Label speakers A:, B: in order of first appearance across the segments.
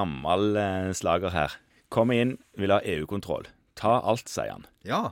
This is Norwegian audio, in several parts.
A: gammel eh, slager her. Kommer inn, vil ha EU-kontroll. Ta alt, sier han.
B: Ja.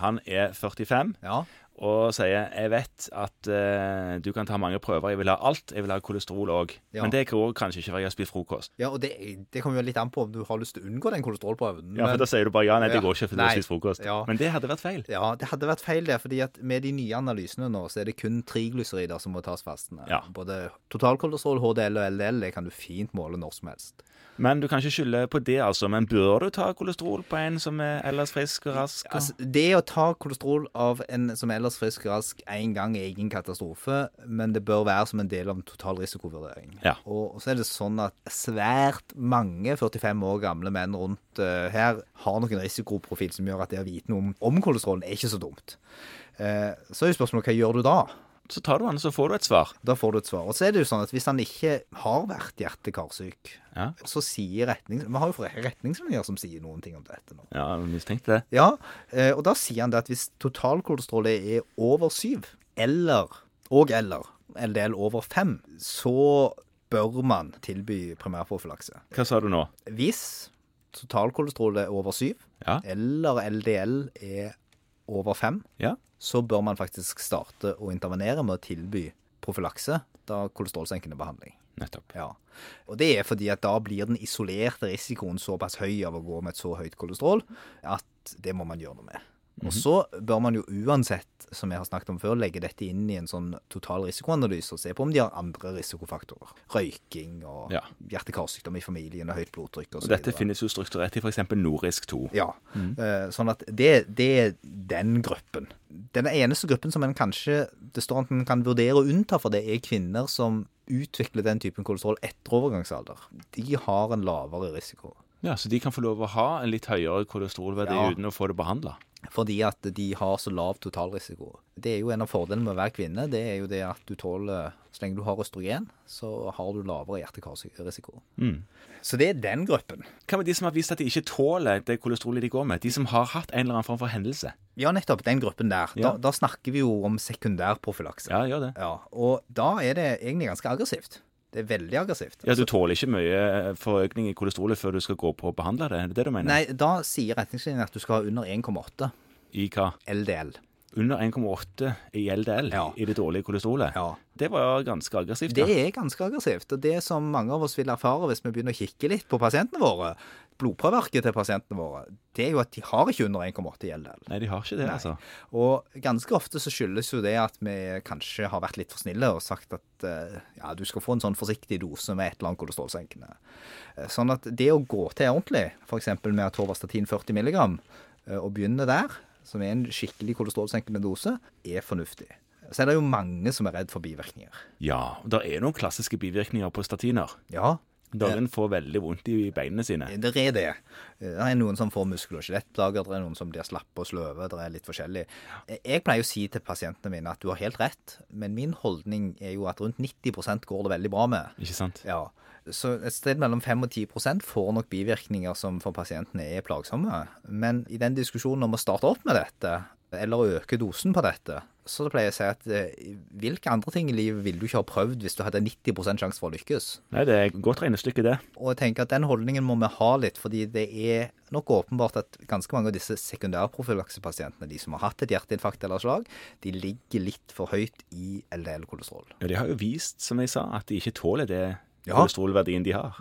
A: Han er 45
B: Ja.
A: og sier jeg vet at eh, du kan ta mange prøver, jeg vil ha alt. Jeg vil ha kolesterol òg.
B: Ja.
A: Men det går kanskje ikke før jeg har spist frokost.
B: ja og det, det kommer jo litt an på om du har lyst til å unngå den kolesterolprøven.
A: Ja,
B: men-
A: for Da sier du bare ja, nei, det
B: Ja.
A: går ikke før du
B: Nei.
A: har spist frokost.
B: Ja.
A: Men det hadde vært feil.
B: Ja, det hadde vært feil det, fordi at med de nye analysene nå, så er det kun triglycerider som må tas fastende.
A: Ja.
B: Både totalkolesterol, HDL og LDL, det kan du fint måle når som helst.
A: Men du kan ikke skylde på det, altså. Men bør du ta kolesterol på en som er ellers frisk og rask? Og...
B: Altså, det å ta kolesterol av en som ellers frisk og rask én gang er ingen katastrofe, men det bør være som en del av en total risikovurdering.
A: Ja.
B: Og så er det sånn at svært mange 45 år gamle menn rundt eh, her har nok en risikoprofil som gjør at det å vite noe om, om kolesterolen er ikke så dumt. Eh, så er jo spørsmålet hva gjør du da?
A: Så tar du den, så får du et svar.
B: Da får du et svar. Og så er det jo sånn at hvis han ikke har vært hjerte-karsyk,
A: Ja.
B: så sier retning... Vi har jo flere retningslinjer som sier noen ting om dette nå.
A: Ja, jeg mistenkte det.
B: Ja, eh, og da sier han det at hvis totalkolesterolet er over syv, eller, og eller, LDL over fem, så bør man tilby primærprofylakse.
A: Hva sa du nå?
B: Hvis totalkolesterolet er over syv,
A: Ja.
B: eller LDL er over fem,
A: Ja.
B: så bør man faktisk starte å intervenere med å tilby profylakse, da kolesterolsenkende behandling.
A: Nettopp.
B: Ja. Og det er fordi at da blir den isolerte risikoen såpass høy av å gå med et så høyt kolesterol at det må man gjøre noe med.
A: Mhm.
B: Og så bør man jo uansett, som jeg har snakket om før, legge dette inn i en sånn total risikoanalyse og se på om de har andre risikofaktorer. Røyking og
A: Ja.
B: hjerte-karsykdom i familien og høyt blodtrykk og
A: Og
B: så
A: dette
B: videre.
A: finnes jo strukturert i f.eks. Norisk 2.
B: Ja. Eh, Sånn at det, det er den gruppen. Den eneste gruppen som en kanskje det står at en kan vurdere å unnta for det, er kvinner som utvikler den typen kolesterol etter overgangsalder. De har en lavere risiko.
A: Ja, Så de kan få lov å ha en litt høyere kolesterolverdi
B: Ja.
A: uten å få det behandla.
B: Fordi at de har så lav totalrisiko. Det er jo en av fordelene med å være kvinne. Det er jo det at du tåler Så lenge du har østrogen, så har du lavere hjerte-karrisiko. Så det er den gruppen.
A: Hva med de som har vist at de ikke tåler det kolesterolet de går med? De som har hatt en eller annen form for hendelse?
B: Ja, nettopp. Den gruppen der.
A: Ja.
B: Da, da snakker vi jo om sekundærprofylakse.
A: Ja, gjør det.
B: Ja, og da er det egentlig ganske aggressivt. Det er veldig aggressivt.
A: Ja, Du tåler ikke mye eh, forøkning i kolesterolet før du skal gå på å behandle det? Er det det du mener?
B: Nei, da sier retningslinjene at du skal ha under 1,8
A: I hva?
B: LDL.
A: Under 1,8 i LDL
B: Ja.
A: i det dårlige kolesterolet?
B: Ja.
A: Det var ganske aggressivt.
B: Det
A: ja.
B: er ganske aggressivt, og det som mange av oss vil erfare hvis vi begynner å kikke litt på pasientene våre, blodprøveverket til pasientene våre, det er jo at de har ikke under 1,8 i LDL.
A: Nei, de har ikke det, altså.
B: Og ganske ofte så skyldes jo det at vi kanskje har vært litt for snille og sagt at eh, ja, du skal få en sånn forsiktig dose med et eller annet kolesterolsenkende. Eh, Sånn at det å gå til ordentlig, f.eks. med atorvastatin 40 mg, og begynne der, som er en skikkelig kolesterolsenkende dose, er fornuftig. Så er det jo mange som er redd for bivirkninger.
A: Ja, og det er noen klassiske bivirkninger på statiner.
B: Ja,
A: Noen får veldig vondt i beinene sine.
B: det er det. Det er noen som får muskel- og skjelettplager, det er noen som blir slappe og sløve, det er litt forskjellig. Jeg pleier å si til pasientene mine at du har helt rett, men min holdning er jo at rundt 90 går det veldig bra med.
A: Ikke sant?
B: Ja, Så et sted mellom 5 og 10 får nok bivirkninger som for pasientene er plagsomme. Men i den diskusjonen om å starte opp med dette, eller å øke dosen på dette, så pleier jeg å si at eh, hvilke andre ting i livet ville du ikke ha prøvd hvis du hadde 90 sjanse for å lykkes?
A: Nei, det er godt regnestykke, det.
B: Og jeg tenker at den holdningen må vi ha litt, fordi det er nok åpenbart at ganske mange av disse sekundærprofylaksepasientene, de som har hatt et hjerteinfarkt eller slag, de ligger litt for høyt i LDL-kolesterol.
A: Ja, de har jo vist, som jeg sa, at de ikke tåler det
B: Ja. Mm.
A: kolesterolverdien de har.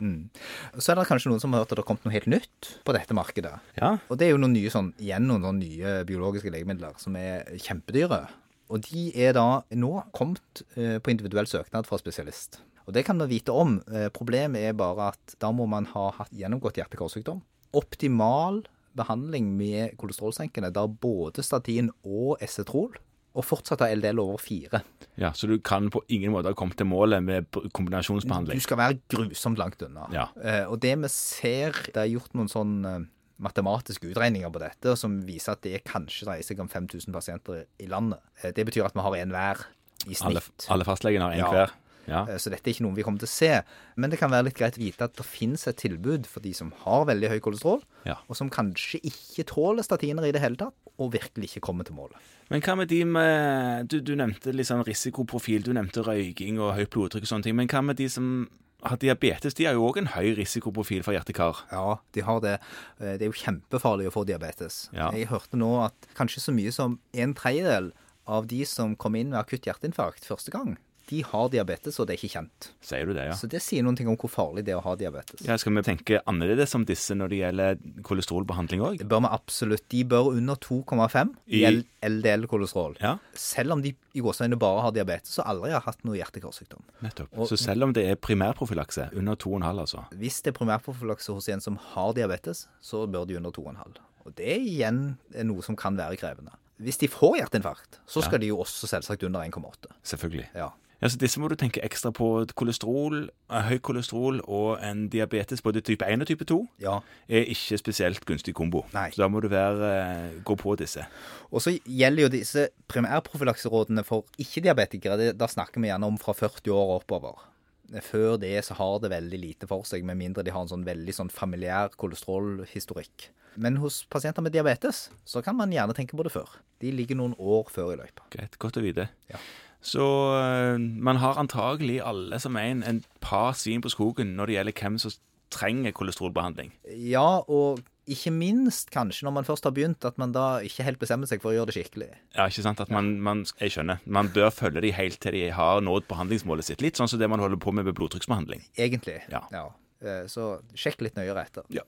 B: Så er det kanskje noen som har hørt at det har kommet noe helt nytt på dette markedet.
A: Ja,
B: Og det er jo noen nye, sånn, igjen noen sånne nye biologiske legemidler som er kjempedyre. Og de er da nå kommet eh, på individuell søknad fra spesialist. Og det kan man vite om. Eh, problemet er bare at da må man ha hatt gjennomgått hjerte-karsykdom. Optimal behandling med kolesterolsenkende, da både statin og esetrol, og fortsatt ha LDL over fire.
A: ja Så du kan på ingen måte ha kommet til målet med b-
B: Du
A: kombinasjonsbehandling?
B: skal være grusomt langt unna.
A: Sånn Ja.
B: Eh, og det vi ser, det er gjort noen sånn eh, matematiske utregninger på dette som viser at det kanskje dreier seg om 5000 pasienter i landet. Eh, det betyr at vi har én hver i
A: Alle,
B: snitt.
A: alle fastlegene har en
B: Ja.
A: hver? Ja.
B: Eh, Så dette er ikke noe vi kommer til å se. Men det kan være litt greit å vite at det finnes et tilbud for de som har veldig høy kolesterol,
A: Ja.
B: og som kanskje ikke tåler statiner i det hele tatt, og virkelig ikke kommer til målet.
A: Men hva med de sånn med Du, du nevnte liksom risikoprofil, du nevnte røyking og høyt blodtrykk og sånne ting. Men hva med de som har diabetes de har jo òg en høy risikoprofil for hjertekar.
B: Ja, de har det. Eh, Det er jo kjempefarlig å få diabetes.
A: Ja.
B: Jeg hørte nå at kanskje så mye som en tredjedel av de som kom inn med akutt hjerteinfarkt første gang, de har diabetes, og det er ikke kjent.
A: Sier du det, ja?
B: Så det sier noen ting om hvor farlig det er å ha diabetes.
A: ja skal vi tenke annerledes om disse når det gjelder kolesterolbehandling òg?
B: Det bør vi absolutt. De bør under 2,5 i
A: I-
B: LDL-kolesterol.
A: Ja,
B: Selv om de i gåseøynene bare har diabetes og aldri har hatt noe hjertekarsykdom.
A: nettopp.
B: Og-
A: Så selv om det er primærprofylakse, under 2,5 altså
B: Hvis det er primærprofylakse hos en som har diabetes, så bør de under 2,5. Og det igjen er noe som kan være krevende. Hvis de får hjerteinfarkt, så skal de jo også selvsagt under 1,8.
A: Selvfølgelig.
B: Ja.
A: Ja, så Disse må du tenke ekstra på. Kolesterol, eh, høy kolesterol og en diabetes både type 1 og type 2
B: ja.
A: er ikke spesielt gunstig kombo.
B: Nei.
A: Så da må du være, eh, gå på disse.
B: Og så gjelder jo disse primærprofylakserådene for ikke-diabetikere. det- Da snakker vi gjerne om fra 40 år og oppover. Før det så har det veldig lite for seg, med mindre de har en sånn veldig sånn familiær kolesterolhistorikk. Men hos pasienter med diabetes så kan man gjerne tenke på det før. De ligger noen år før i løypa.
A: Greit, godt å vite.
B: Ja.
A: Så eh, man har antagelig alle som en en par svin på skogen når det gjelder hvem som trenger kolesterolbehandling.
B: Ja, og ikke minst kanskje når man først har begynt, at man da ikke helt bestemmer seg for å gjøre det skikkelig.
A: Ja, ikke sant? At man, man, jeg skjønner. Man bør følge de helt til de har nådd behandlingsmålet sitt. Litt sånn som det man holder på med ved blodtrykksbehandling.
B: Egentlig.
A: Ja.
B: Eh, Så sjekk litt nøyere etter.
A: Ja.